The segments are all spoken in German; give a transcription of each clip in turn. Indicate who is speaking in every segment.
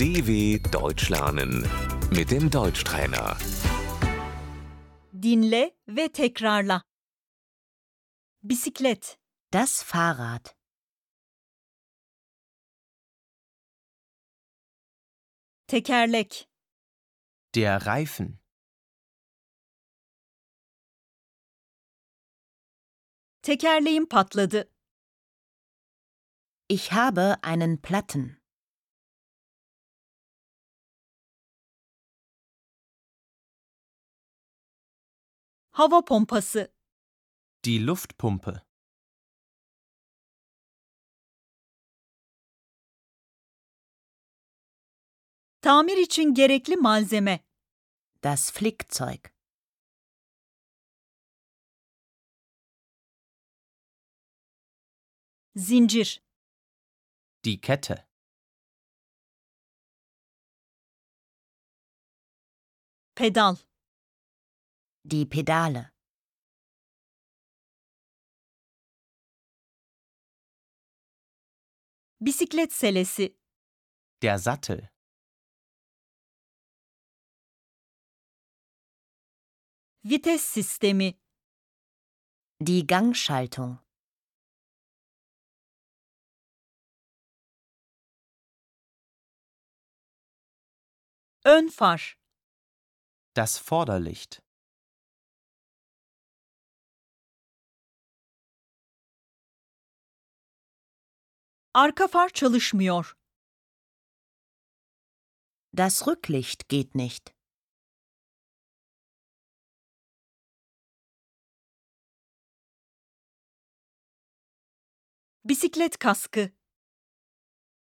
Speaker 1: DW Deutsch lernen mit dem Deutschtrainer.
Speaker 2: Dinle ve tekrarla. Bisiklet,
Speaker 3: Das Fahrrad.
Speaker 2: tekerlek,
Speaker 4: Der Reifen.
Speaker 2: tekerleğim patladı.
Speaker 3: Ich habe einen Platten.
Speaker 2: Hava pompası,
Speaker 4: Die Luftpumpe.
Speaker 2: tamir için gerekli malzeme,
Speaker 3: Das Flickzeug.
Speaker 2: zincir,
Speaker 4: Die Kette.
Speaker 2: pedal,
Speaker 3: Die Pedale.
Speaker 2: bisiklet selesi,
Speaker 4: Der Sattel.
Speaker 2: vites sistemi,
Speaker 3: Die Gangschaltung.
Speaker 2: ön far,
Speaker 4: Das Vorderlicht.
Speaker 2: arka far çalışmıyor,
Speaker 3: Das Rücklicht geht nicht.
Speaker 2: bisiklet kaskı,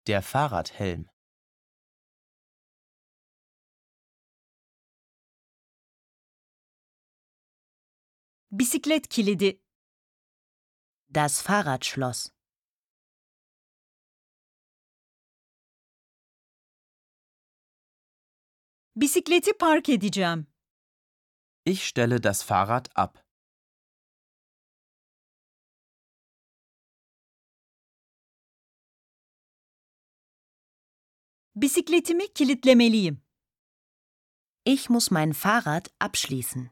Speaker 4: Der Fahrradhelm.
Speaker 2: bisiklet kilidi,
Speaker 3: Das Fahrradschloss.
Speaker 2: bisikleti park edeceğim,
Speaker 4: Ich stelle das Fahrrad ab.
Speaker 2: bisikletimi kilitlemeliyim.
Speaker 3: Ich muss mein Fahrrad abschließen.